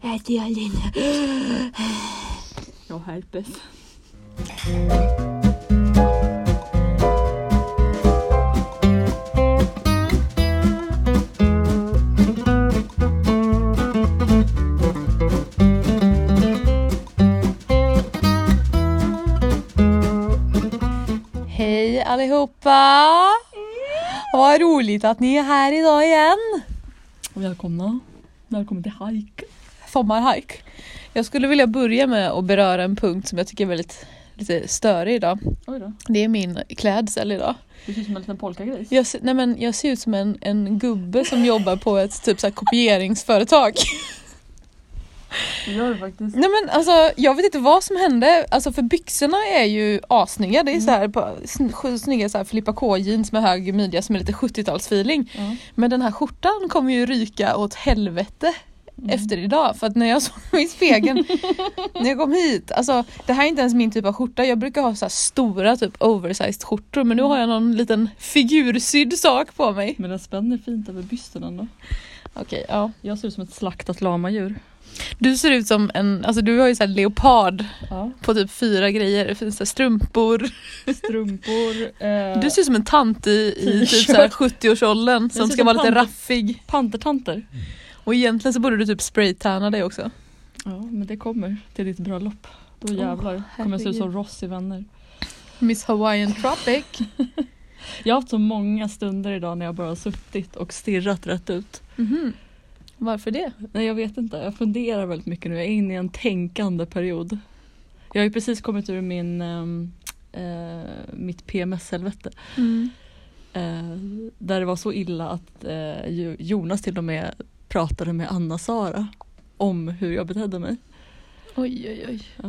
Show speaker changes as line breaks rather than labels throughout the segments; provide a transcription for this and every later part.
Äter jag lite?
Jag har herpes.
Hej allihopa! Vad roligt att ni är här idag igen.
Välkomna. Välkommen till hike.
Sommarhike. Jag skulle vilja börja med att beröra en punkt som jag tycker är väldigt lite större idag.
Oj då.
Det är min klädsel idag.
Du ser ut som en liten polkagris.
Jag, ser- nej men, jag ser ut som en, en gubbe som jobbar på ett typ så här kopieringsföretag.
Det gör du faktiskt.
Nej men alltså jag vet inte vad som hände, alltså för byxorna är ju assnygga. Det är så här, på, sn- snygga så här Filippa K jeans med hög midja som är lite 70-talsfeeling.
Ja.
Men den här skjortan kommer ju ryka åt helvete efter idag för att när jag såg mig i spegeln när jag kom hit, alltså det här är inte ens min typ av skjorta. Jag brukar ha så här stora typ oversized skjortor men nu har jag någon liten figursydd sak på mig.
Men den spänner fint över bysten ändå.
Okej, ja.
Jag ser ut som ett slaktat lamadjur.
Du ser ut som en, alltså du har ju så här leopard
Ja.
på typ fyra grejer. Det finns så här strumpor,
Strumpor. Eh,
Du ser ut som en tant i, i typ så här 70-årsåldern
Jag
som
ser
ska
som
vara lite
tant.
raffig.
pantertanter.
Och egentligen så borde du typ spraytanna dig också.
Ja men det kommer till ditt bröllop. Då jävlar kommer jag se ut som Ross i Vänner.
Miss Hawaiian Tropic.
Jag har haft så många stunder idag när jag bara har suttit och stirrat rätt ut.
Mhm. Varför det?
Nej jag vet inte, jag funderar väldigt mycket nu. Jag är inne i en tänkande period. Jag har ju precis kommit ur min, ehm, eh, mitt PMS-helvete.
Mm.
Eh, där det var så illa att eh, Jo- Jonas till och med pratade med Anna-Sara om hur jag betedde mig.
Oj oj oj.
Ja.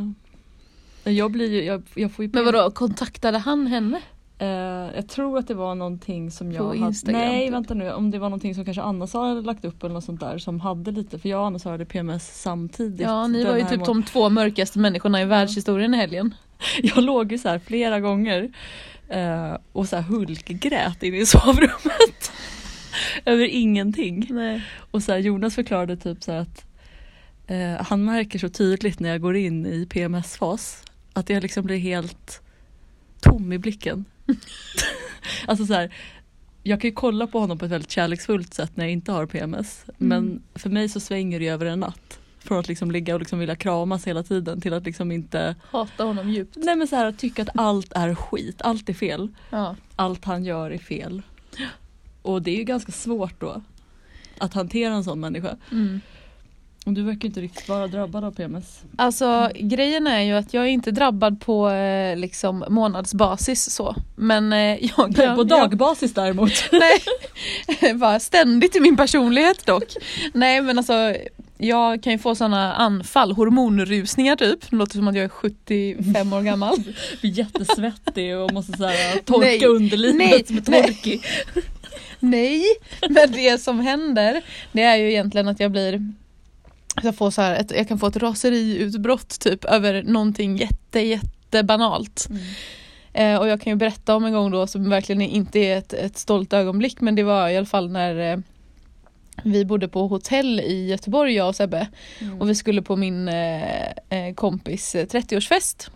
Men Jag, blir ju, jag, jag får ju
Men vadå, kontaktade han henne?
Eh, jag tror att det var någonting som jag
Instagram,
hade... Nej
typ.
vänta nu, om det var någonting som kanske Anna-Sara hade lagt upp eller något sånt där som hade lite, för jag och Anna-Sara hade PMS samtidigt.
Ja, ni
den
var ju
här
typ
månaden.
de två mörkaste människorna i världshistorien i helgen.
Jag låg ju så här flera gånger eh, och så här hulkgrät inne i sovrummet. Över ingenting.
Nej.
Och så här, Jonas förklarade typ så här att eh, han märker så tydligt när jag går in i PMS-fas att jag liksom blir helt tom i blicken. alltså så här, jag kan ju kolla på honom på ett väldigt kärleksfullt sätt när jag inte har PMS men för mig så svänger det över en natt. Från att liksom ligga och liksom vilja kramas hela tiden till att liksom inte,
Hata honom djupt.
nej men så här att tycka att allt är skit, allt är fel,
Ja.
allt han gör är fel. Och det är ju ganska svårt då att hantera en sån människa.
Mm.
Och du verkar inte riktigt vara drabbad av PMS.
Alltså grejen är ju att jag är inte drabbad på eh, liksom månadsbasis så. Men eh, jag kan...
på
jag-
dagbasis däremot.
Nej, bara ständigt i min personlighet dock. Nej men alltså jag kan ju få sådana anfall, hormonrusningar typ. Det låter som att jag är 75 år gammal.
Blir jättesvettig och måste så här, äh,
Nej.
torka underlivet
Nej.
med
Nej.
torki.
Nej, men det som händer det är ju egentligen att jag blir jag, får så här ett, jag kan få ett raseriutbrott typ över någonting jätte jätte banalt.
Mm.
Eh, och jag kan ju berätta om en gång då som verkligen inte är ett, ett stolt ögonblick men det var i alla fall när eh, vi bodde på hotell i Göteborg jag och Sebbe.
Mm.
Och vi skulle på min eh, eh, kompis eh, 30-årsfest.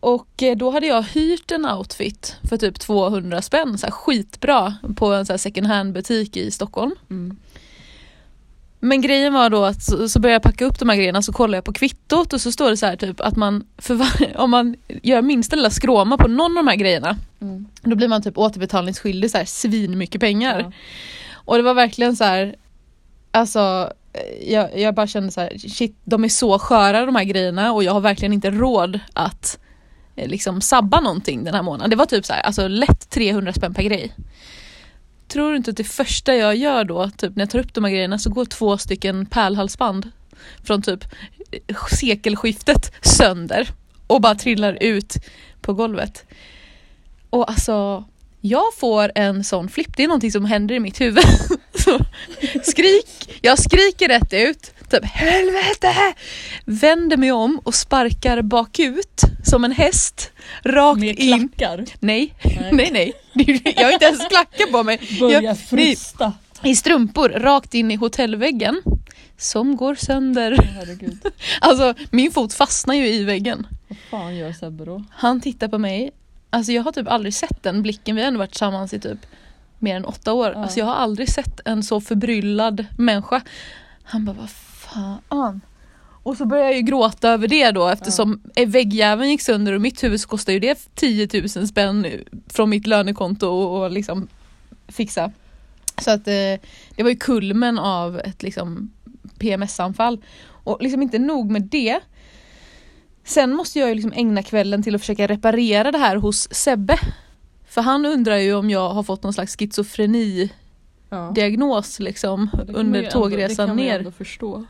Och eh, då hade jag hyrt en outfit för typ 200 spänn, så här skitbra, på en så här second hand butik i Stockholm.
Mm.
Men grejen var då att så, så började jag packa upp de här grejerna så kollade jag på kvittot och så står det så här typ att man, för var, om man gör minsta lilla skråma på någon av de här grejerna
Mm.
då blir man typ återbetalningsskyldig så här svin mycket pengar.
Ja.
Och det var verkligen så här, alltså eh, jag, jag bara kände så här, shit de är så sköra de här grejerna och jag har verkligen inte råd att eh, liksom sabba någonting den här månaden. Det var typ så här, alltså lätt 300 spänn per grej. Tror du inte att det första jag gör då, typ när jag tar upp de här grejerna så går två stycken pärlhalsband från typ eh, sekelskiftet sönder och bara trillar ut på golvet. Och alltså jag får en sån flipp, det är någonting som händer i mitt huvud. Så, skrik, jag skriker rätt ut, typ helvete! Vänder mig om och sparkar bakut som en häst rakt
Med
in.
klackar.
Nej, nej, nej. Jag har inte ens klackar på mig.
Börja
Jag- nej.
frista.
i strumpor rakt in i hotellväggen som går sönder.
herregud.
Alltså min fot fastnar ju i väggen.
Vad fan gör Sebbe då?
Han tittar på mig. Alltså jag har typ aldrig sett den blicken. Vi har ändå varit tillsammans i typ mer än åtta år.
Ja.
Alltså jag har aldrig sett en så förbryllad människa. Han bara, vad fan. Och så börjar jag ju gråta över det då eftersom eh, väggjäveln gick sönder och mitt huvud så kostar ju det 10 000 spänn från mitt lönekonto och, och liksom fixa. Så att eh, det var ju kulmen av ett liksom PMS-anfall. Och liksom inte nog med det. Sen måste jag ju liksom ägna kvällen till att försöka reparera det här hos Sebbe. För han undrar ju om jag har fått någon slags schizofreni-diagnos
Ja.
liksom
Ja, det kan man ju
under
ändå-
tågresan
Det kan man ju
ner.
ändå förstå.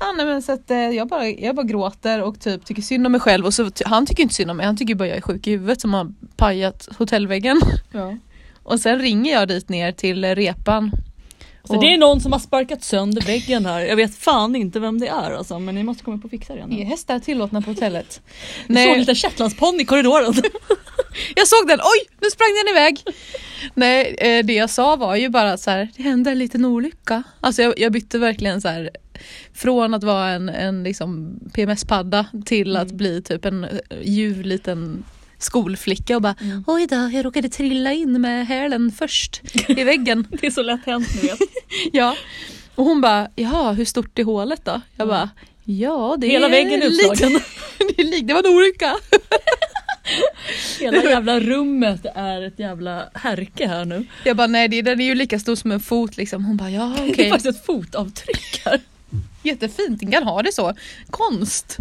Ja, nej, men så att, eh, jag, bara, jag bara gråter och typ tycker synd om mig själv och så, ty- han tycker inte synd om mig, han tycker bara jag är sjuk i huvudet som har pajat hotellväggen.
Ja.
Och sen ringer jag dit ner till eh, repan.
Så det är någon som har sparkat sönder väggen här. Jag vet fan inte vem det är alltså, men ni måste komma upp och fixa det.
Är
nu.
hästar tillåtna på hotellet?
Jag Mm. såg en liten shetlandsponny i korridoren.
Jag såg den, oj nu sprang den iväg. Nej eh, det jag sa var ju bara så här, det hände en liten olycka. Alltså jag, jag bytte verkligen så här från att vara en, en liksom PMS-padda till att
Mm.
bli typ en eh, ljuv liten skolflicka och bara
Mm.
Oj då, jag råkade trilla in med hälen först i väggen.
Det är så lätt hänt ni vet.
ja. Och hon bara, ja hur stort är hålet då? Jag
Mm.
bara, ja det
Hela
är
väggen är
lite-
utslagen.
det, är lik- det var en olycka.
Hela jävla rummet är ett jävla härke här nu.
Jag bara, nej det, den är ju lika stor som en fot liksom. Hon bara, ja okej.
Det är faktiskt ett fotavtryck här.
Jättefint, ingen kan ha det så. Konst.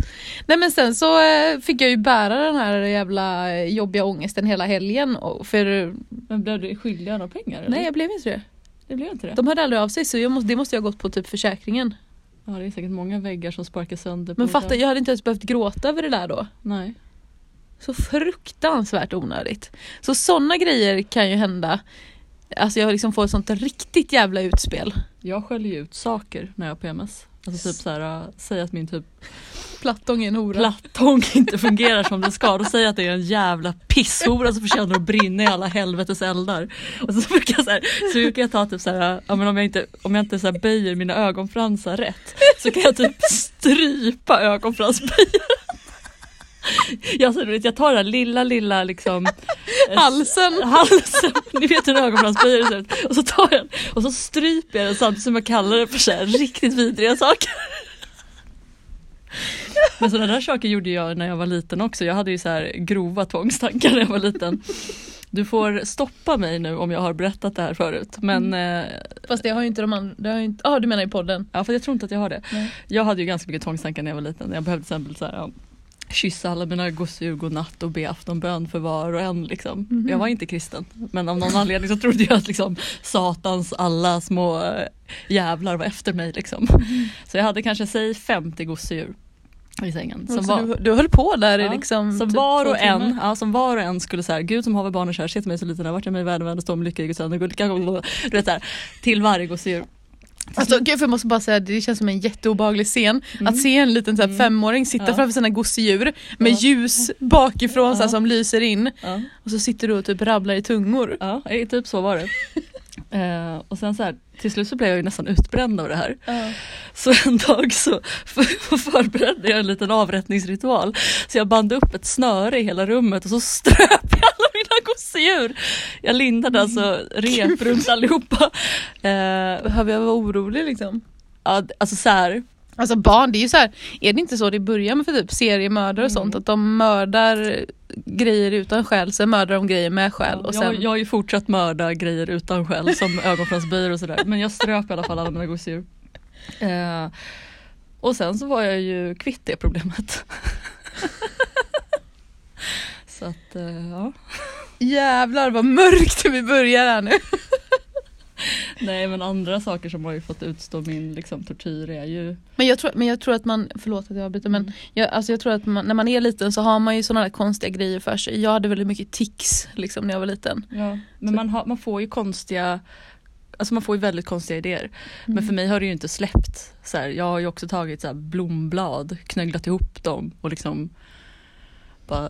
Nej men sen så eh, fick jag ju bära den här jävla eh, jobbiga ångesten hela helgen. och- För
Men blev du skyldig några pengar? Eller?
nej jag blev inte det.
det blev inte det.
De hörde aldrig av sig så jag måste, det måste jag ha gått på typ försäkringen.
Ja, det är säkert många väggar som sparkar sönder. på
Men
hotell.
fatta, jag hade inte ens behövt gråta över det där då.
Nej.
Så fruktansvärt onödigt. Så sådana grejer kan ju hända. Alltså jag liksom får ett sånt riktigt jävla utspel.
Jag skäller ju ut saker när jag har PMS. Alltså typ såhär, äh, säg att min typ
Plattång är en hora.
plattång inte fungerar som den ska. Då säger jag att det är en jävla pisshora som förtjänar att brinna i alla helvetes eldar. Och så brukar jag, så här, så brukar jag ta typ såhär, ja, men om jag inte, om jag inte så här böjer mina ögonfransar rätt så kan jag typ strypa ögonfransböjaren. Jag, säger, du vet, jag tar den här lilla lilla liksom eh,
Halsen.
halsen, ni vet hur en ögonfransböjare ser ut. Och så tar jag den och så stryper jag den samtidigt som jag kallar den för så här riktigt vidriga saker. Men sådana där saker gjorde jag när jag var liten också. Jag hade ju så här grova tvångstankar när jag var liten. Du får stoppa mig nu om jag har berättat det här förut. Men eh,
Fast det har ju inte de andra, det har ju inte, ah, du menar i podden?
ja, för jag tror inte att jag har det.
Nej.
Jag hade ju ganska mycket tvångstankar när jag var liten. Jag behövde till exempel så här, ja, kyssa alla mina gosedjur godnatt och be aftonbön för var och en. Liksom.
Mhm.
Jag var inte kristen men av någon anledning så trodde jag att liksom, satans alla små eh, jävlar var efter mig. Liksom.
Mhm.
Så jag hade kanske säg 50 gosedjur i sängen. Som
Så
var,
du, du höll på där
Ja,
i liksom
som,
typ
var
två
och
timmar.
en, ja, som var och en skulle säga Gud som haver barn och kär, se till mig så liten jag har varit i mig i världen, världen storm, lycka i Guds hand och gulka, du vet så här, till varje gosedjur.
Alltså gud för jag måste bara säga det känns som en jätteobehaglig scen. Att se en liten så här, femåring sitta
Ja.
framför sina gosedjur med
Ja.
ljus bakifrån så här,
Ja.
som lyser in.
Ja.
Och så sitter du och typ rabblar i tungor.
Ja, eh, typ så var det. Eh, och sen så här, till slut så blev jag ju nästan utbränd av det här. Så en dag så för- förberedde jag en liten avrättningsritual. Så jag band upp ett snöre i hela rummet och så ströp jag alla mina gosedjur. Jag lindade alltså rep runt allihopa. Eh,
Behöver jag vara orolig liksom?
ja, alltså så här,
Alltså barn, det är ju så här, är det inte så det börjar med för typ seriemördare och sånt? Att de mördar grejer utan skäl, sen mördar de grejer med skäl. Och
jag,
sen,
jag har ju fortsatt mörda grejer utan skäl som ögonfransböjare och sådär. Men jag ströp i alla fall alla mina gosedjur. Eh, och sen så var jag ju kvitt det problemet. så att eh, ja.
Jävlar vad mörkt vi börjar här nu.
Nej men andra saker som har ju fått utstå min liksom, tortyr är ju
Men jag, tror, men jag tror att man, förlåt att jag avbryter men
Mm.
jag, alltså jag tror att man, när man är liten så har man ju sådana där konstiga grejer för sig. Jag hade väldigt mycket tics liksom när jag var liten.
ja, Men man, har, man får ju konstiga Alltså man får ju väldigt konstiga idéer. Men
Mm.
för mig har det ju inte släppt. Så här, jag har ju också tagit så här blomblad, knögglat ihop dem och liksom bara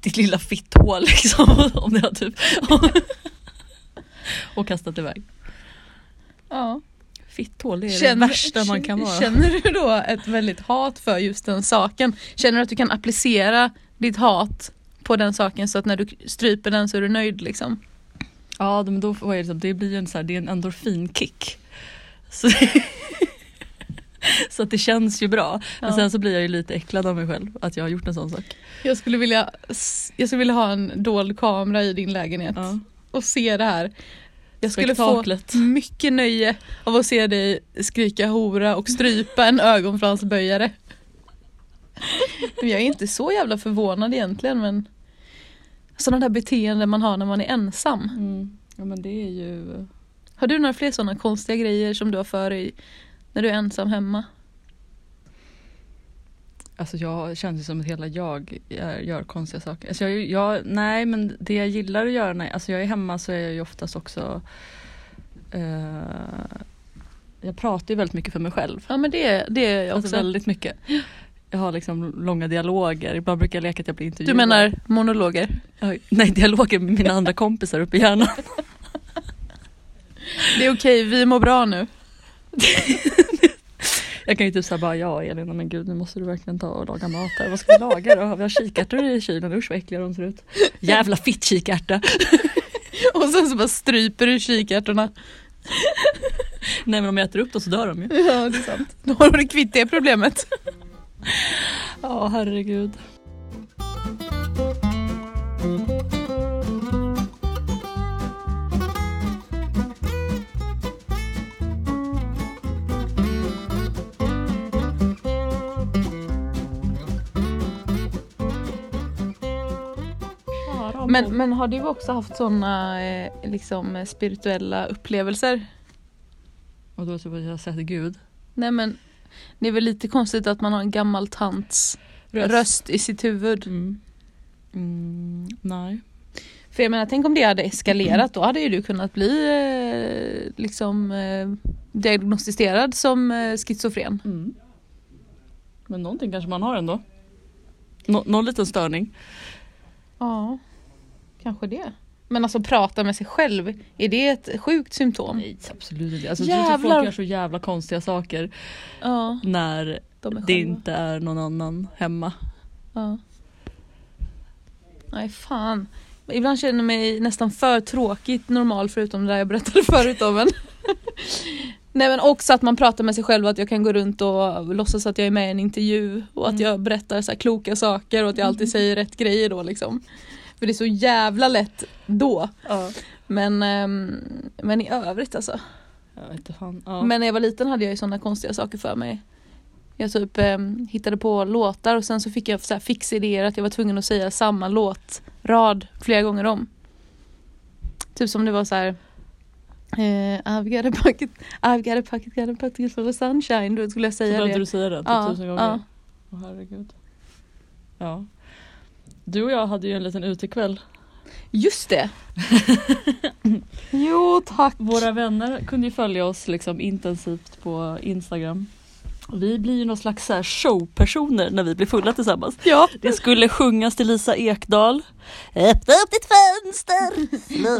ditt lilla fitthål liksom. Om det har typ. och kastat iväg.
Ja.
Fitthål, det är det
Känner-
värsta man kan vara.
Känner du då ett väldigt hat för just den saken? Känner du att du kan applicera ditt hat på den saken så att när du stryper den så är du nöjd liksom?
Ja, men då var jag liksom, det blir ju en, så här, det är en endorfinkick. Så, så att det känns ju bra. Men
Ja.
sen så blir jag ju lite äcklad av mig själv att jag har gjort en sån sak.
Jag skulle vilja, s- jag skulle vilja ha en dold kamera i din lägenhet
Ja.
och se det här. Jag skulle få
Mm. Spektaklet.
mycket nöje av att se dig skrika hora och strypa en ögonfransböjare. Men Jag är inte så jävla förvånad egentligen men sådana där beteenden man har när man är ensam.
Mm. Ja men det är ju...
Har du några fler sådana konstiga grejer som du har för dig när du är ensam hemma?
Alltså jag känns ju som att hela jag är, gör konstiga saker. Alltså jag, jag, nej men det jag gillar att göra när alltså jag är hemma så är jag ju oftast också eh, Jag pratar ju väldigt mycket för mig själv.
Ja men det, det är jag
Alltså
också.
väldigt mycket. Jag har liksom långa dialoger. Ibland brukar jag leka att jag blir
du
intervjuad.
menar monologer?
Oj, nej, dialoger med mina andra kompisar uppe i hjärnan.
Det är okej, vi mår bra nu.
Jag kan ju typ säga bara ja Elina men gud nu måste du verkligen ta och laga mat här. Vad ska vi laga då? Vi har kikärtor i kylen. Usch vad äckliga de ser ut. Jävla fittkikärta.
Och sen så bara stryper du kikärtorna.
Nej men om jag äter upp dem så dör de ju.
Ja det är sant. Då har du kvitt det problemet.
Ja herregud.
Men, men har du också haft sådana eh, liksom, eh, spirituella upplevelser?
Och då typ att jag har sett Gud.
Nej men det är väl lite konstigt att man har en gammal tants röst, i sitt huvud.
Mm. Mm, nej.
För jag menar tänk om det hade eskalerat då hade ju du kunnat bli eh, liksom eh, diagnostiserad som eh, schizofren.
Mm. Men någonting kanske man har ändå. Nå- någon liten störning.
Ja, kanske det. Men alltså prata med sig själv, är det ett sjukt symptom?
Nej Mm. absolut inte. Alltså,
Jävlar.
jag tror folk gör så jävla konstiga saker
Ja,
när
de är
det
själva.
inte är någon annan hemma.
Ja. Nej fan. Ibland känner jag mig nästan för tråkigt normal förutom det där jag berättade förut om en. Nej men också att man pratar med sig själv och att jag kan gå runt och låtsas att jag är med i en intervju och att
Mm.
jag berättar så här kloka saker och att jag alltid säger rätt grejer då liksom. För det är så jävla lätt då.
Ja.
Men, ehm, men i övrigt alltså.
Jag vet inte fan. Ja.
Men när jag var liten hade jag ju sådana konstiga saker för mig. Jag typ eh, hittade på låtar och sen så fick jag så här fixidéer att jag var tvungen att säga samma låtrad flera gånger om. Typ som det var så här eh, I've got a pocket, I've got a pocket, got a pocket full of sunshine. Då skulle jag
så
säga
behövde
det.
du säga det typ
Ja,
tusen gånger.
ja.
Åh, herregud. Ja. Du och jag hade ju en liten utekväll.
Just det! jo tack!
Våra vänner kunde ju följa oss liksom intensivt på Instagram. Vi blir ju någon slags så här showpersoner när vi blir fulla tillsammans.
Ja,
Det skulle sjungas till Lisa Ekdahl. Öppna upp ditt fönster!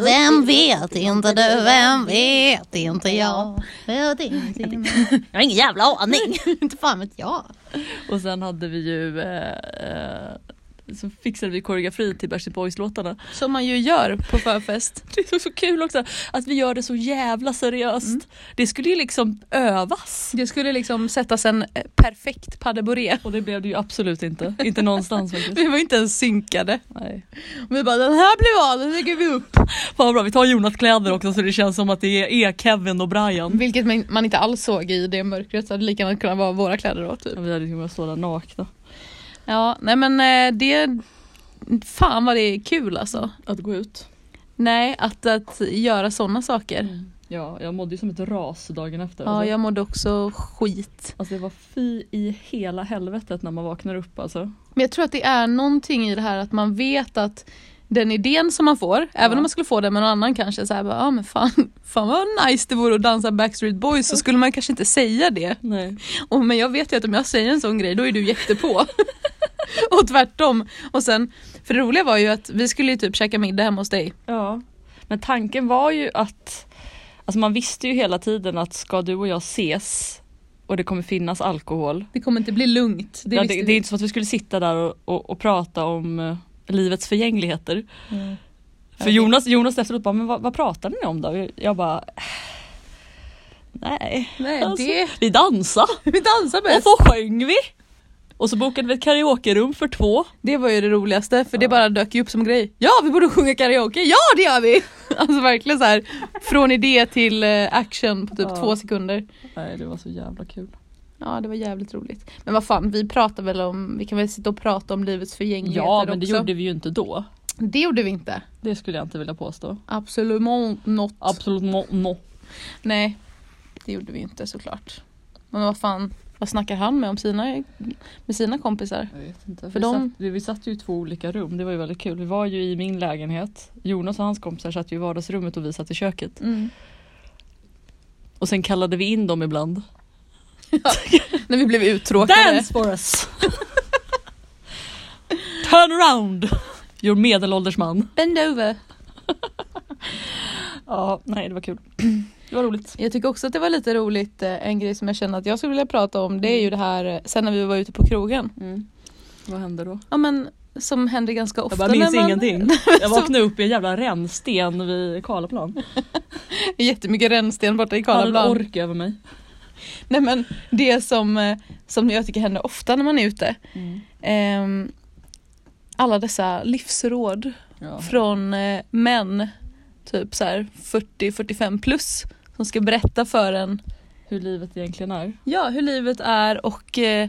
Vem vet inte du, vem vet inte jag? Vet inte jag. jag har ingen jävla aning. inte fan vet jag.
Och sen hade vi ju eh, eh, så fixade vi koreografi till Backstreet Boys låtarna.
som man ju gör på förfest.
Det är så- så kul också att vi gör det så jävla seriöst. Det skulle ju liksom övas.
Det skulle liksom sättas en eh, perfekt padeboré.
Och det blev det ju absolut inte. Inte någonstans faktiskt.
Vi var inte ens synkade.
Nej.
Vi bara den här blev av, den lägger vi upp.
Fan vad bra, vi tar Jonas kläder också så det känns som att det är Kevin och Brian.
Vilket man- man inte alls såg i det mörkret, så hade det lika gärna kunnat vara våra kläder då typ.
Vi hade ju kunnat stå där nakna.
Ja, nej men eh, det, fan vad det är kul alltså.
Att gå ut.
Nej, att, att göra sådana saker.
Ja, jag mådde ju som ett ras dagen efter.
Ja, jag mådde också skit.
Alltså det var fy i hela helvetet när man vaknar upp alltså.
Men jag tror att det är någonting i det här att man vet att den idén som man får, även
Ja.
om man skulle få den med någon annan kanske, så här, bara, ah, men fan, fan vad nice det vore att dansa Backstreet Boys så skulle man kanske inte säga det.
Nej.
Och, men jag vet ju att om jag säger en sån grej då är du jättepå. och tvärtom. Och sen, för det roliga var ju att vi skulle ju typ käka middag hemma hos dig.
Ja. Men tanken var ju att Alltså man visste ju hela tiden att ska du och jag ses och det kommer finnas alkohol.
Det kommer inte bli lugnt.
Det,
Det
ja,
visste
det, det
vi.
är inte som att vi skulle sitta där och, och, och prata om eh, livets förgängligheter.
Mm.
För
Ja, det-
Jonas, Jonas efteråt bara, men vad, vad pratade ni om då? Jag bara, nej,
Nej,
alltså,
det...
vi dansade
Vi dansar
och
bäst.
så sjöng vi. Och så bokade vi ett karaokerum för två.
Det var ju det roligaste för det bara dök ju upp som grej. Ja vi borde sjunga karaoke, ja det gör vi! Alltså verkligen så här från idé till eh, action på typ
Ja.
två sekunder.
Nej det var så jävla kul.
Ja det var jävligt roligt. Men vad fan vi pratar väl om, vi kan väl sitta och prata om livets förgängligheter
Ja men det
också.
gjorde vi ju inte då.
det gjorde vi inte.
Det skulle jag inte vilja påstå.
Absolut not.
Absolut no. no.
Nej det gjorde vi inte såklart. Men vad fan, vad snackar han med om sina, med sina kompisar?
Jag vet inte.
För
vi,
de-
satt, vi satt ju i två olika rum, det var ju väldigt kul. Vi var ju i min lägenhet. Jonas och hans kompisar satt ju i vardagsrummet och vi satt i köket. Och sen kallade vi in dem ibland.
När vi blev uttråkade.
for us! Turn around! Your medelålders man.
Bend over.
Ja, nej det var kul. Det var roligt.
Jag tycker också att det var lite roligt, eh, en grej som jag känner att jag skulle vilja prata om det är
Mm.
ju det här eh, sen när vi var ute på krogen.
Vad hände då?
Ja men som händer ganska ofta.
Jag bara minns
när man,
ingenting. Jag vaknade upp i en jävla rännsten vid Karlaplan.
Jättemycket rännsten borta i
Jag hade en
Karlaplan.
ork över mig.
Nej men det som, eh, som jag tycker händer ofta när man är ute.
Mm.
Ehm, alla dessa livsråd
Ja.
från eh, män typ så här 40-45 plus som ska berätta för en
Hur livet egentligen är.
Ja, hur livet är och eh,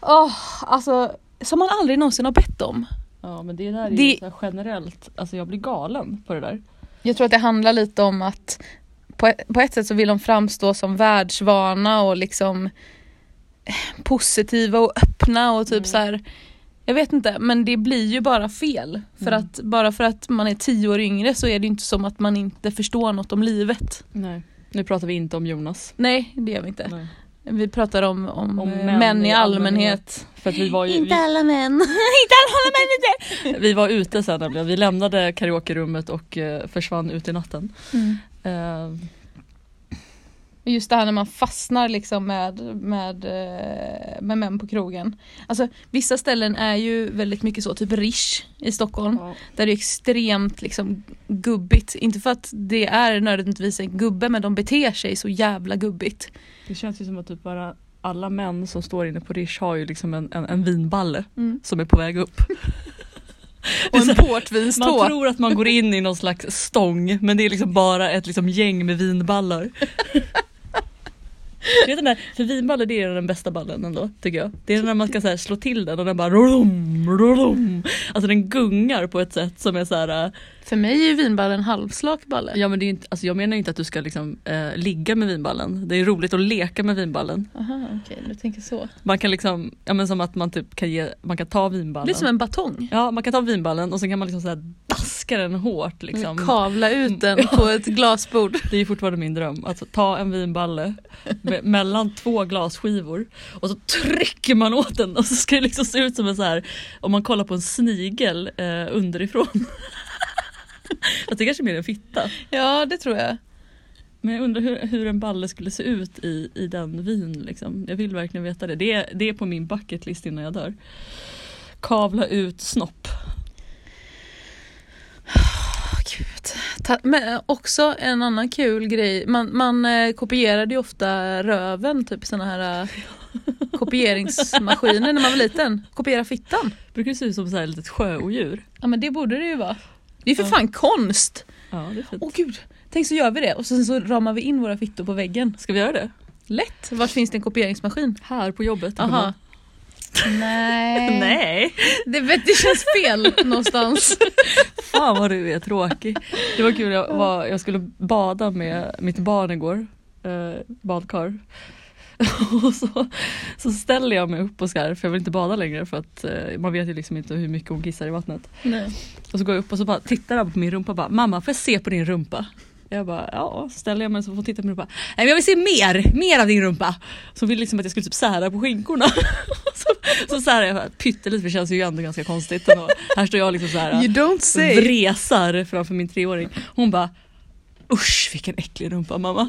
åh, alltså, som man aldrig någonsin har bett om.
Ja men det där är
Det-
ju så här generellt, alltså jag blir galen på det där.
Jag tror att det handlar lite om att på, på ett sätt så vill de framstå som världsvana och liksom eh, positiva och öppna och typ
Mm.
så här. Jag vet inte men det blir ju bara fel. För
Mm.
att bara för att man är tio år yngre så är det ju inte som att man inte förstår något om livet.
Nej. Nu pratar vi inte om Jonas.
Nej det gör vi inte. Vi pratar om, om,
Om
eh,
män
män,
i
i allmänhet.
För att vi var ju,
Inte
vi,
alla män.
vi var ute sen nämligen, vi lämnade karaokerummet och eh, försvann ut i natten.
Mm.
Eh,
Just det här när man fastnar liksom med, med, eh, med män på krogen. Alltså vissa ställen är ju väldigt mycket så, typ Rish i Stockholm. Där det är extremt liksom gubbigt. Inte för att det är nödvändigtvis en gubbe men de beter sig så jävla gubbigt.
Det känns ju som att typ bara alla män som står inne på Rish har ju liksom en, en, en vinballe
Mm.
som är på väg upp.
Och en
Man
portvinstå.
tror att man går in i någon slags stång men det är liksom bara ett liksom gäng med vinballar. Du Vet den där, för vinballer det är den bästa ballen ändå tycker jag. Det är den där man ska så här slå till den och den bara rolum, rolum. Alltså den gungar på ett sätt som är så här. äh,
För mig är ju vinballen halvslak balle.
Ja men det är ju inte, alltså jag menar ju inte att du ska liksom eh, ligga med vinballen. Det är roligt att leka med vinballen.
Aha okej du tänker så.
Man kan liksom, ja men som att man typ kan ge, man kan ta vinballen.
Det är som en batong.
Ja man kan ta vinballen och sen kan man liksom så här daska den hårt liksom.
Kavla ut den på ett glasbord.
Det är fortfarande min dröm. Alltså ta en vinballe me- mellan två glasskivor och så trycker man åt den och så ska det liksom se ut som en så här om man kollar på en snigel eh, underifrån. Att det kanske är mer en fitta.
Ja det tror jag.
Men jag undrar hur, hur en balle skulle se ut i, i den vin liksom. Jag vill verkligen veta det. Det är, det är på min bucket list innan jag dör. Kavla ut snopp.
Gud. Ta- Men eh, också en annan kul grej, man, man eh, kopierade ju ofta röven typ i såna här eh, kopieringsmaskiner när man var liten. Kopiera fittan.
Brukar det se ut som så här ett litet sjöodjur?
Ja men det borde det ju vara. Det är för
Ja.
fan konst!
Ja, det är fint.
Åh gud, tänk så gör vi det och sen så ramar vi in våra fittor på väggen.
Ska vi göra det?
Lätt! Vart finns det en kopieringsmaskin?
Här på jobbet?
Aha. Nej.
Nej.
Det, vet- det känns fel någonstans.
Fan vad du är tråkig. Det var kul, jag, var, jag skulle bada med mitt barn igår, eh, badkar. Och så, så ställer jag mig upp och ska, för jag vill inte bada längre för att eh, man vet ju liksom inte hur mycket hon kissar i vattnet.
Nej.
Och så går jag upp och så bara tittar han på min rumpa och bara mamma får jag se på din rumpa? Jag bara ja, så ställer jag mig så får hon titta på min rumpa. Nej men jag vill se mer, mer av din rumpa! Så hon ville liksom att jag skulle typ sära på skinkorna. så, så särar jag bara, pyttelite för det känns ju ändå ganska konstigt. ändå. Här står jag liksom så här
You don't say!
vresar framför min treåring. Hon bara usch vilken äcklig rumpa mamma.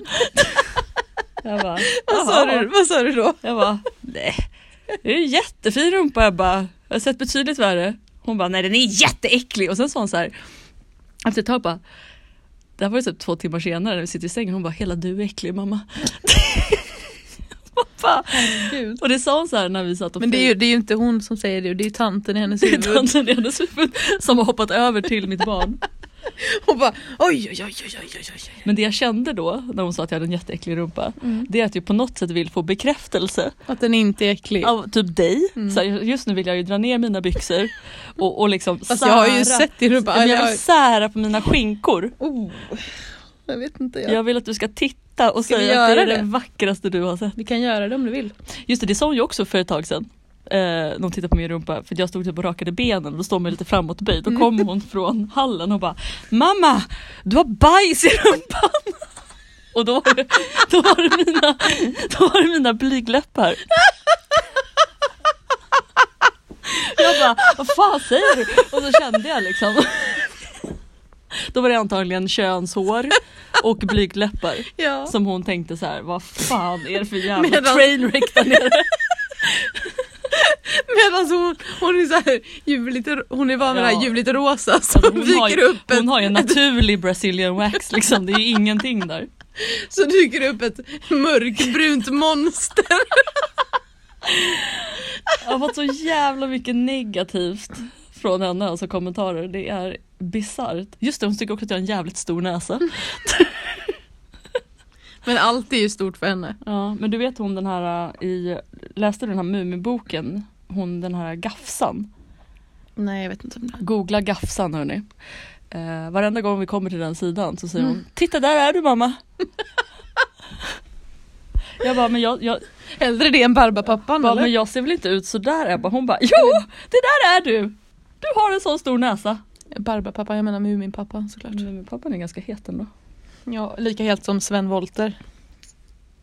Jag bara,
Vad sa, du, vad sa du då? Jag bara, nej. Det är en jättefin rumpa Ebba. Jag har sett betydligt värre. Hon bara, nej den är jätteäcklig. Och sen sa hon så här, efter ett tag bara, det här var ju typ två timmar senare när vi sitter i sängen. Hon bara, hela du är äcklig mamma. Pappa.
Gud.
Och det sa hon så här när vi satt och
Men det är, ju, det är ju inte hon som säger det, det är ju tanten i hennes huvud.
tanten i hennes huvud som har hoppat över till mitt barn.
Hon bara oj, oj, oj, oj, oj, oj, oj.
Men det jag kände då när hon sa att jag hade en jätteäcklig rumpa, det är att jag på något sätt vill få bekräftelse
Att den inte är äcklig.
av typ dig.
Mm.
Så här, just nu vill jag ju dra ner mina byxor och, och liksom
Fast jag har ju sett din rumpa.
Ja, men jag
Eller,
vill sära på mina skinkor.
oh. jag vet inte. Jag.
Jag vill att du ska titta och
Ska vi
säga att det är
göra
det
det?
vackraste du har sett.
Vi kan göra det om du vill.
Just det, det sa hon ju också för ett tag sedan. Eh, när hon tittade på min rumpa för jag stod typ och rakade benen och då står man lite framåtböjd. Då kom hon från hallen och bara Mamma! Du har bajs i rumpan! Och då var det, då var det, mina, då var det mina blygläppar. Jag bara, vad fan säger du? Och så kände jag liksom. Då var det antagligen könshår och blygläppar.
Ja.
Som hon tänkte så här, vad fan är det för jävla
Medan-
trainwreck där nere?
Medan hon, hon är så här ljuvligt, hon är van vid det
Ja.
här ljuvligt rosa som
Alltså, Hon
dyker
har, ju,
upp ett,
hon har ju en naturlig Brazilian wax liksom, det är ju ingenting där.
så dyker det upp ett mörkbrunt monster.
Jag har fått så jävla mycket negativt från henne, alltså kommentarer. Det är bisarrt. Just det, hon tycker också att jag har en jävligt stor näsa.
Men allt är ju stort för henne.
Ja, men du vet hon den här äh, i, läste du den här Muminboken? Hon den här Gafsan.
Nej jag vet inte om det.
Googla Gafsan hörni. Eh, varenda gång vi kommer till den sidan så
Mm.
säger hon Titta där är du mamma! jag bara, men jag, jag,
Hellre det än Barbapappan
bara,
eller?
men jag ser väl inte ut sådär Ebba? Hon bara Jo! Det där är du! Du har en sån stor näsa!
Barbapappa, jag menar Muminpappa såklart.
Men pappan är ganska het ändå.
Mm. Ja, lika helt som Sven Wollter.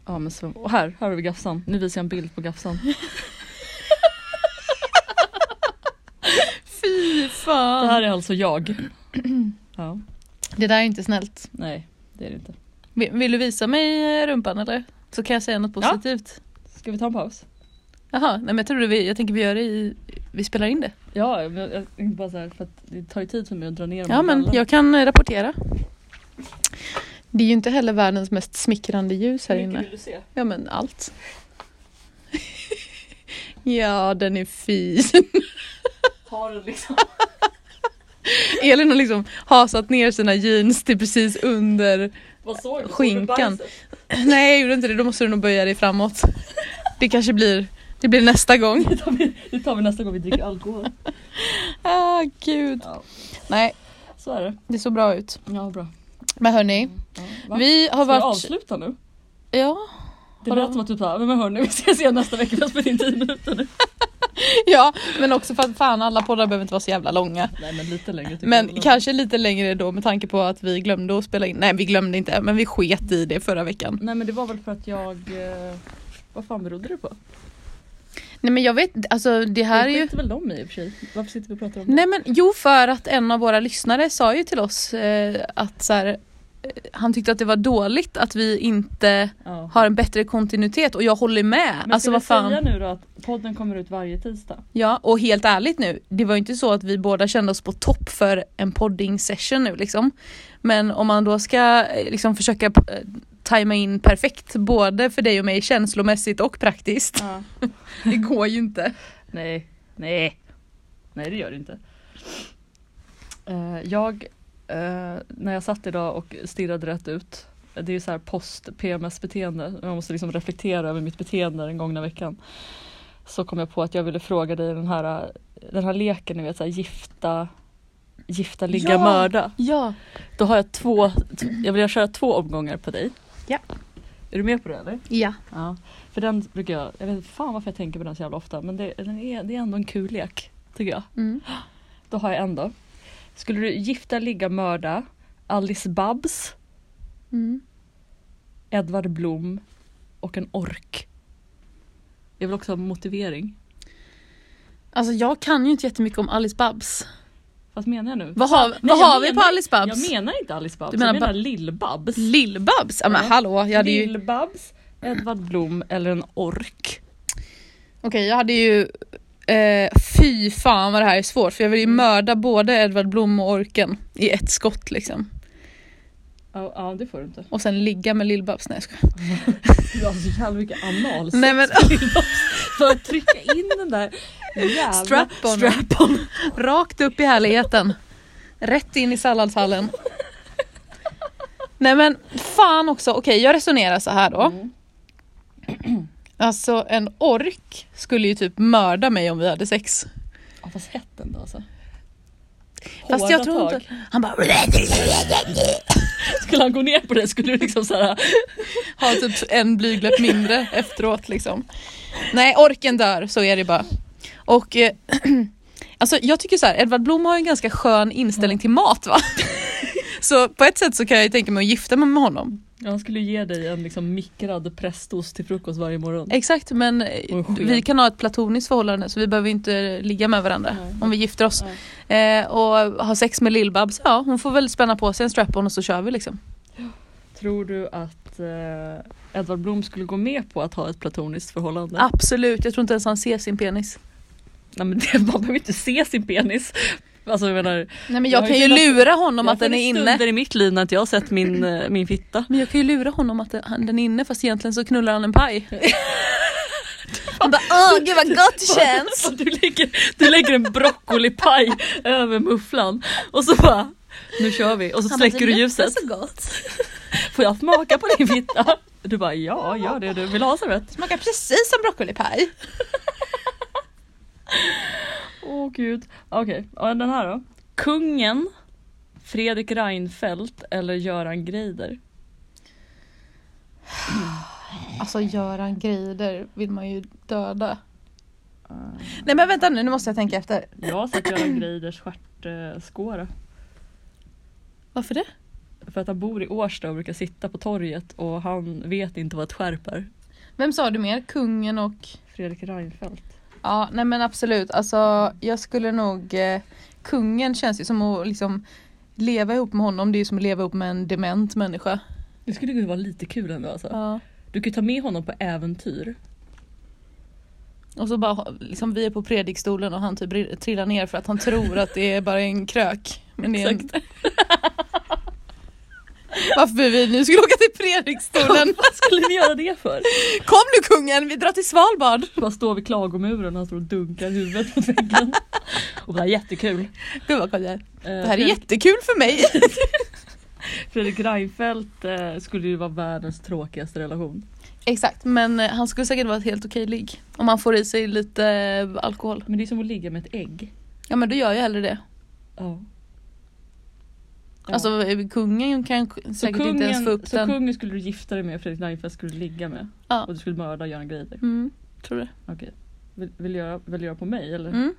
Ja men så, och här, här har vi Gafsan. Nu visar jag en bild på Gafsan.
Fy
Det
fan.
här är alltså jag. Ja,
Det där är inte snällt.
nej det är det inte.
Vill, vill du visa mig eh, rumpan eller? Så kan jag säga något
Ja.
positivt.
Ska vi ta en paus?
Jaha, nej men jag tror vi, jag tänker vi gör det i, vi spelar in det.
Ja, men jag jag tänkte bara så här, för att det tar ju tid för mig att dra ner de
Ja
här
men
brallorna.
jag kan eh, rapportera. Det är ju inte heller världens mest smickrande ljus här
Hur mycket
inne.
vill du se?
Ja men allt. ja den är fin.
Har den liksom.
Elin har liksom hasat ner sina jeans till precis under.
Vad såg du?
Skinkan. Nej jag gjorde inte det, då måste du nog böja dig framåt. Det kanske blir, det blir nästa gång.
Det tar, vi, det tar vi nästa gång vi dricker alkohol.
Ah gud.
Ja,
Nej
så är det.
det såg bra ut.
Ja bra.
Men hörni,
Mm, Ja, va?
vi har
Ska jag
varit...
avsluta nu?
Ja,
Det
Vadå?
lät som att du bara, men hörni vi ses igen nästa vecka, vi har spelat in 10 minuter nu.
ja, men också för att fan alla poddar behöver inte vara så jävla långa.
Nej men lite längre tycker jag.
Men kanske lite längre då med tanke på att vi glömde att spela in. Nej vi glömde inte men vi sket i det förra veckan.
Nej men det var väl för att jag, eh, vad fan berodde det på?
Nej men jag vet alltså det här är
det
ju
skiter väl de i i och för sig. Varför sitter vi och pratar om det?
Nej men jo för att en av våra lyssnare sa ju till oss eh, att så här, eh, han tyckte att det var dåligt att vi inte
Ja.
har en bättre kontinuitet och jag håller med.
Men
alltså
ska vi
vad fan.
säga nu då att podden kommer ut varje tisdag?
Ja och helt ärligt nu, det var ju inte så att vi båda kände oss på topp för en podding session nu liksom. Men om man då ska eh, liksom försöka eh, tajma in perfekt både för dig och mig känslomässigt och praktiskt.
Ja.
Det går ju inte.
Nej, nej, nej det gör det inte. Eh, jag, eh, när jag satt idag och stirrade rätt ut, det är ju så här post-PMS-beteende, jag måste liksom reflektera över mitt beteende den gångna veckan. Så kom jag på att jag ville fråga dig den här, eh, den här leken, ni vet så här gifta, gifta, ligga,
Ja.
mörda.
Ja.
Då har jag två, t- jag vill köra två omgångar på dig.
Ja.
Är du med på det eller?
Ja.
Ja, för den brukar jag, jag vet inte fan varför jag tänker på den så jävla ofta men det, den är, det är ändå en kul lek tycker jag.
Mm.
Då har jag en då. Skulle du gifta, ligga, mörda Alice Babs,
Mm.
Edvard Blom och en ork? Jag vill också ha motivering.
Alltså jag kan ju inte jättemycket om Alice Babs.
Vad menar jag nu?
Vad har,
Nej,
vad
jag
har vi på
menar-
Alice Babs?
Jag menar inte Alice Babs,
Du menar
jag menar Lill-Babs.
Lill-Babs? Ja men
Ja.
hallå, jag hade ju...
Lill-Babs, Edvard Blom eller en ork.
Okej, jag hade ju... Eh, fy fan vad det här är svårt för jag vill ju
Mm.
mörda både Edvard Blom och orken i ett skott liksom.
Ja, ja det får du inte.
Och sen ligga med Lill-Babs. Nej jag skojar.
Du har så jävla mycket analsex
Nej men
för att trycka in den där jävla...
strap-on. Rakt upp i härligheten. Rätt in i salladshallen. Nej men fan också, okej jag resonerar så här då.
Mm.
Alltså en ork skulle ju typ mörda mig om vi hade sex.
Ja, fast hett ändå alltså.
Fast
Hårda
jag tror
tag.
inte... Han bara
Skulle han gå ner på det skulle du liksom såhär...
har typ en blygdläpp mindre efteråt liksom. Nej, orken dör, så är det bara. Och eh, alltså jag tycker så här, Edvard Blom har ju en ganska skön inställning till mat va? Så på ett sätt så kan jag ju tänka mig att gifta mig med honom.
Ja, han skulle ge dig en liksom mikrad prästost till frukost varje morgon.
Exakt men eh,
Och en sked.
vi kan ha ett platoniskt förhållande så vi behöver inte ligga med varandra
Nej.
om vi gifter oss. Eh, och ha sex med Lill-Babs, ja hon får väl spänna på sig en strap-on och så kör vi liksom.
Tror du att eh, Edvard Blom skulle gå med på att ha ett platoniskt förhållande?
Ah. Absolut, jag tror inte ens han ser sin penis.
Nej men det, man behöver inte se sin penis. Alltså jag menar,
Nej men
Jag
jag,
har
kan
ju
ju
kunnat-
lura honom
jag
att den
har
är
funnits
inne.
stunder i mitt liv när inte jag har sett min, eh, min fitta.
Men jag kan ju lura honom att han- den är inne fast egentligen så knullar han en paj. Han bara åh gud vad gott det känns.
Du lägger, du lägger en broccolipaj över mufflan och så bara nu kör vi och så släcker du ljuset.
så gott.
Får jag smaka på din fitta? Du bara ja, gör det du. Vill du ha servett?
Smakar precis som broccolipaj.
Åh gud. Okej, ja, den här då. Kungen, Fredrik Reinfeldt eller Göran Greider?
Alltså Göran Greider vill man ju döda. Eh. Nej men vänta nu, nu måste jag tänka efter.
Jag har sett Göran Greiders stjärtskåra.
Varför det?
För att han bor i Årsta och brukar sitta på torget och han vet inte vad ett skärp är.
Vem sa du mer? Kungen och?
Fredrik Reinfeldt.
Ja nej men absolut, alltså jag skulle nog... Eh, kungen känns ju som att liksom leva ihop med honom, det är ju som att leva ihop med en dement människa.
Det skulle kunna vara lite kul ändå alltså.
Ja.
Du kan ta med honom på äventyr.
Och så bara ha- liksom vi är på predikstolen och han typ ri- trillar ner för att han tror att det är bara en krök. Men det är en... Varför vi nu skulle åka till predikstolen.
Vad skulle ni göra det för?
Kom nu kungen, vi drar till Svalbard.
Bara stå vid klagomuren och han står och dunkar huvudet mot väggen. Och bara jättekul. Eh,
Gud vad konstigt. Det här är
Fredrik-
jättekul för mig.
Fredrik Reinfeldt eh, skulle ju vara världens tråkigaste relation.
Exakt, men eh, han skulle säkert vara ett helt okej ligg. Om han får i sig lite eh, alkohol.
Men det är som att ligga med ett ägg.
Ja men då gör jag hellre det.
Ja. Ja.
Alltså eh, kungen kan k-
så
säkert inte ens få
kungen,
upp
så
den.
kungen skulle du gifta dig med och Fredrik Reinfeldt skulle du ligga med.
Ja.
Och du skulle mörda Göran Greider.
Mm, tror det.
Okej. Vill, vill, du göra, vill du göra på mig eller?
Mm.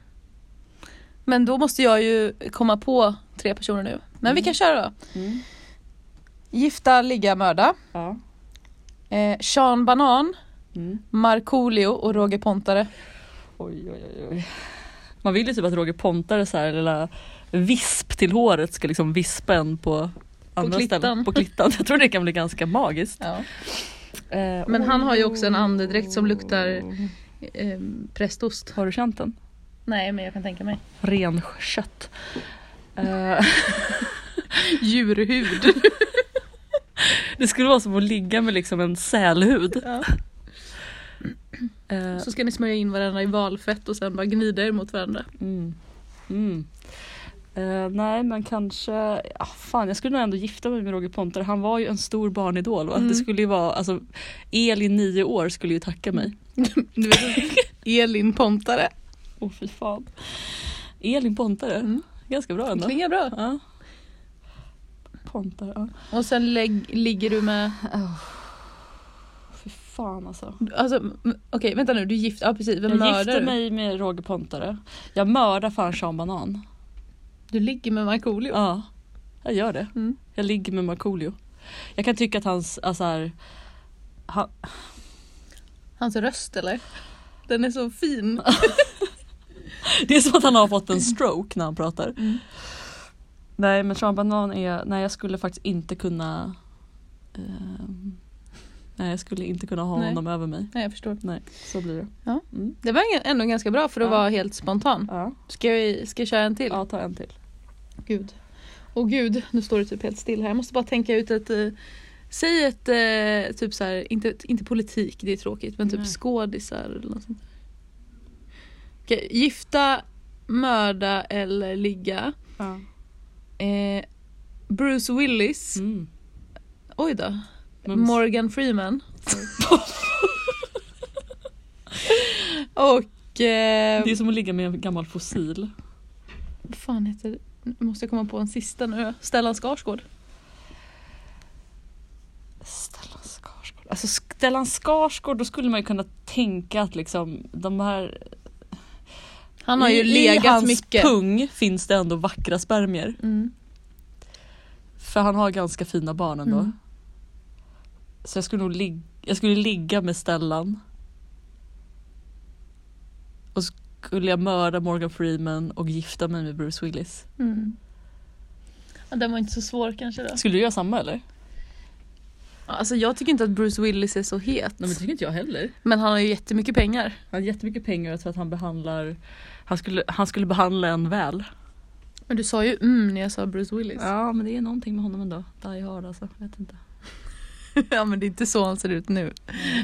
Men då måste jag ju komma på tre personer nu. Men vi
Mm.
kan köra då.
Mm.
Gifta, ligga, mörda.
Ja.
Eh, Sean Banan,
Mm.
Markoolio och Roger Pontare.
Oj, oj, oj, oj. Man vill ju typ att Roger Pontare så här lilla visp till håret ska liksom vispa en på andra
klittan.
ställen. På klittan. Jag tror det kan bli ganska magiskt.
Eh, Men han har ju också en andedräkt som luktar eh, prästost.
Har du känt den?
Nej men jag kan tänka mig.
Renkött. Eh,
Djurhud.
det skulle vara som att ligga med liksom en sälhud.
Ja.
Eh,
Så ska ni smörja in varandra i valfett och sen bara gnida er mot varandra.
Mm. Mm. Eh, nej men kanske, ah, fan jag skulle nog ändå gifta mig med Roger Pontare. Han var ju en stor barnidol va?
Mm.
Det skulle ju vara, alltså Elin nio år skulle ju tacka mig.
Du vet, Elin Pontare.
Åh fy fan. Elin Pontare,
Mm.
ganska bra ändå.
Klingar bra.
Ja. Pontare, ja.
Och sen lägg, ligger du med...
Oh. Fy fan alltså.
Alltså, m- okej vänta nu, du är gift. Ja precis, vem
jag
mördar
gifte
du?
mig med Roger Pontare. Jag mördar fan Sean Banan.
Du ligger med Markoolio.
Ja, jag gör det.
Mm.
Jag ligger med Markoolio. Jag kan tycka att hans, alltså här, han,
Hans röst eller? Den är så fin.
Det är som att han har fått en stroke när han pratar.
Mm.
Nej men tranbanan är, nej jag skulle faktiskt inte kunna ehm, Nej jag skulle inte kunna ha
Nej.
honom över mig.
Nej, jag förstår.
Nej, så blir det.
Det var ingen- ändå ganska bra för att
Ja.
vara helt spontan.
Ja,
Ska vi ska jag köra en till?
ja ta en till.
Gud. Åh gud, nu står det typ helt still här. Jag måste bara tänka ut ett... Eh, säg ett, eh, typ så här, inte, inte politik, det är tråkigt, men typ
Nej.
skådisar eller något sånt. Okej, gifta, mörda eller ligga.
Ja.
Eh, Bruce Willis.
Mm.
Oj då.
Men-
Morgan Freeman. Och... Eh,
Det är som att ligga med en gammal fossil.
vad fan heter det? Nu måste jag komma på en sista nu. Stellan Skarsgård.
Stellan Skarsgård. Alltså Stellan Skarsgård, då skulle man ju kunna tänka att liksom de här...
Han har ju
i, I
legat
hans
mycket.
pung finns det ändå vackra spermier.
Mm.
För han har ganska fina barn ändå.
Mm.
Så jag skulle nog lig- jag skulle ligga med Stellan. Och skulle jag mörda Morgan Freeman och gifta mig med Bruce Willis.
Mm. Ja, den var inte så svår kanske då.
Skulle du göra samma eller?
Alltså jag tycker inte att Bruce Willis är så het. men,
tycker inte jag heller.
han har ju jättemycket pengar.
Han har jättemycket pengar och jag tror att han behandlar han skulle, han skulle behandla en väl.
Men du sa ju mm när jag sa Bruce Willis.
Ja men det är någonting med honom ändå. Die hard alltså. Jag vet inte.
ja men det är inte så han ser ut nu.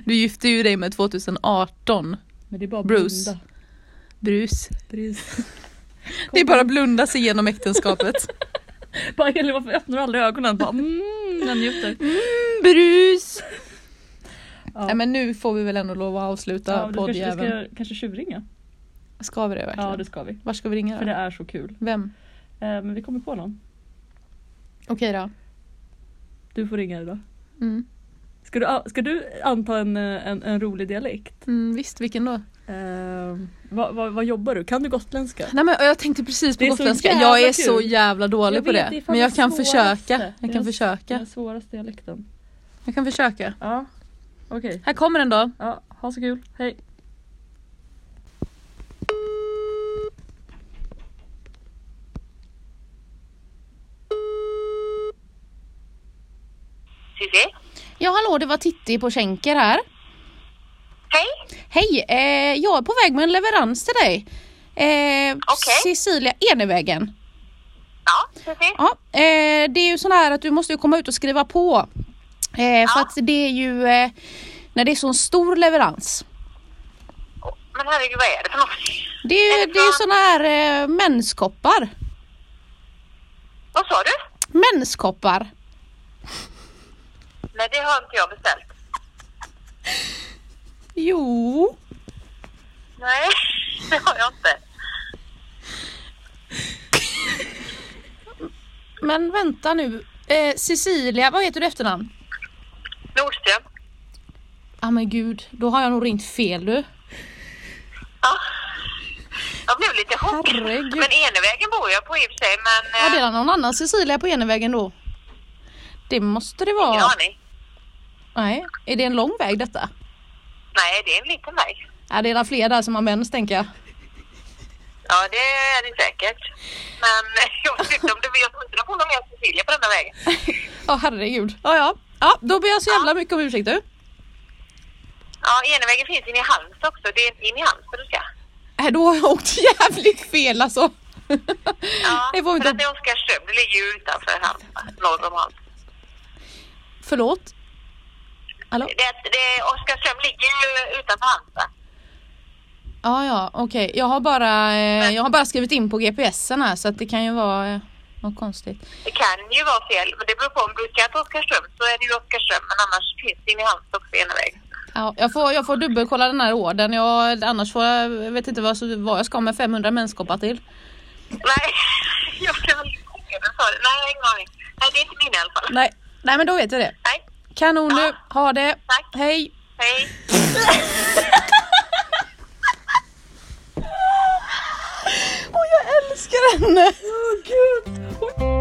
Du gifte ju dig med 2018.
Men det är bara
Bruce.
blunda.
Bruce.
Bruce.
Det är bara att blunda sig genom äktenskapet.
Bara Elin varför öppnar du aldrig ögonen? Bara mm, jag njuter.
Bruce!
Ja.
Nej men nu får vi väl ändå lov att avsluta
Ja, då kanske vi
poddjäveln. Ska...
ska kanske tjuvringa.
ska vi det verkligen?
Ja det ska vi.
Var ska vi ringa
För
då?
det är så kul. Eh,
Vem?
men vi kommer på någon.
Okej då.
Du får ringa idag.
Mm.
Ska du, ska du anta en, eh, en, en rolig dialekt?
Mm, visst, vilken då?
Eh, vad, vad, vad jobbar du? Kan du gotländska?
Nej men Ehm. jag tänkte precis på
Det är så
gotländska.
jävla
Jag är
kul.
så jävla dålig
Jag
på
vet,
det.
det är fan
men jag
det
kan
svåraste.
försöka.
Det
Jag
är
kan
det- Den
försöka.
svåraste dialekten.
Jag kan försöka.
Ja, okej.
Här kommer den då.
Ja, ha så kul. Hej.
Susie?
Ja hallå, det var Titti på Schenker här.
Hej!
Hej, eh, jag är på väg med en leverans till dig. Eh,
Okej.
Cecilia Enevägen.
Ja, precis.
Ja, eh, det är ju sån här att du måste ju komma ut och skriva på. Eh, För att det är ju eh, när det är sån stor leverans.
Åh, Men herregud, vad är det för något?
Det är
Är
ju
det
det är ju
bra?
såna här eh, menskoppar.
Vad sa du?
Menskoppar.
Nej, det har inte jag beställt.
Jo.
Nej, det har jag inte.
Men vänta nu. Eh, Cecilia, vad heter du i efternamn?
Nordström?
Ja ah, men gud, då har jag nog ringt fel du.
Ja. Jag blev lite chockad.
Herregud.
Men Enevägen bor jag på i och för sig, men...
Ja, det
eh,
är någon annan Cecilia på Enevägen då. Det måste det
Ingen
vara.
aning.
Nej, är det en lång väg detta?
Nej, det är en liten väg.
Ja, det är alla fler där som har mens tänker jag.
Ja, det är det säkert. Men eh, jag vet inte om det jag tror inte det bor någon mer Cecilia på den här vägen.
Ja herregud. Ja, ja. ja då ber jag så jävla mycket om ursäkt du.
Ja, Enevägen finns inne i Halmstad också. Det är inte inne i Halmstad du ska.
Äh, då har jag åkt jävligt fel alltså.
Ja,
Det får vi
för att
inte-
det är Oskarshamn. Det ligger ju utanför Halmstad, norr om Halmstad.
Förlåt? Hallå?
Det, det, Oskarshamn ligger ju utanför Halmstad.
Ja, ja, okej. Jag har bara, eh, jag har bara skrivit in på GPSen här så att det kan ju vara eh, något konstigt.
Det kan ju vara fel, men det beror på om du ska till Oskarshamn så är det ju Oskarshamn, men annars finns det in i Halmstad också ena vägen.
Ja, jag, får, jag får dubbelkolla den här orden. Jag, annars får jag, jag vet inte vad, så- vad jag ska med 500 menskoppar till.
Nej, jag blev alldeles chockad när du sa det. Nej, jag har ingen aning. Nej, det är inte min i alla fall.
Nej, nej men då vet jag det.
Nej,
Kanon nu, ha det.
Tack.
Hej.
hej.
Älskar henne.
Åh gud! Oj.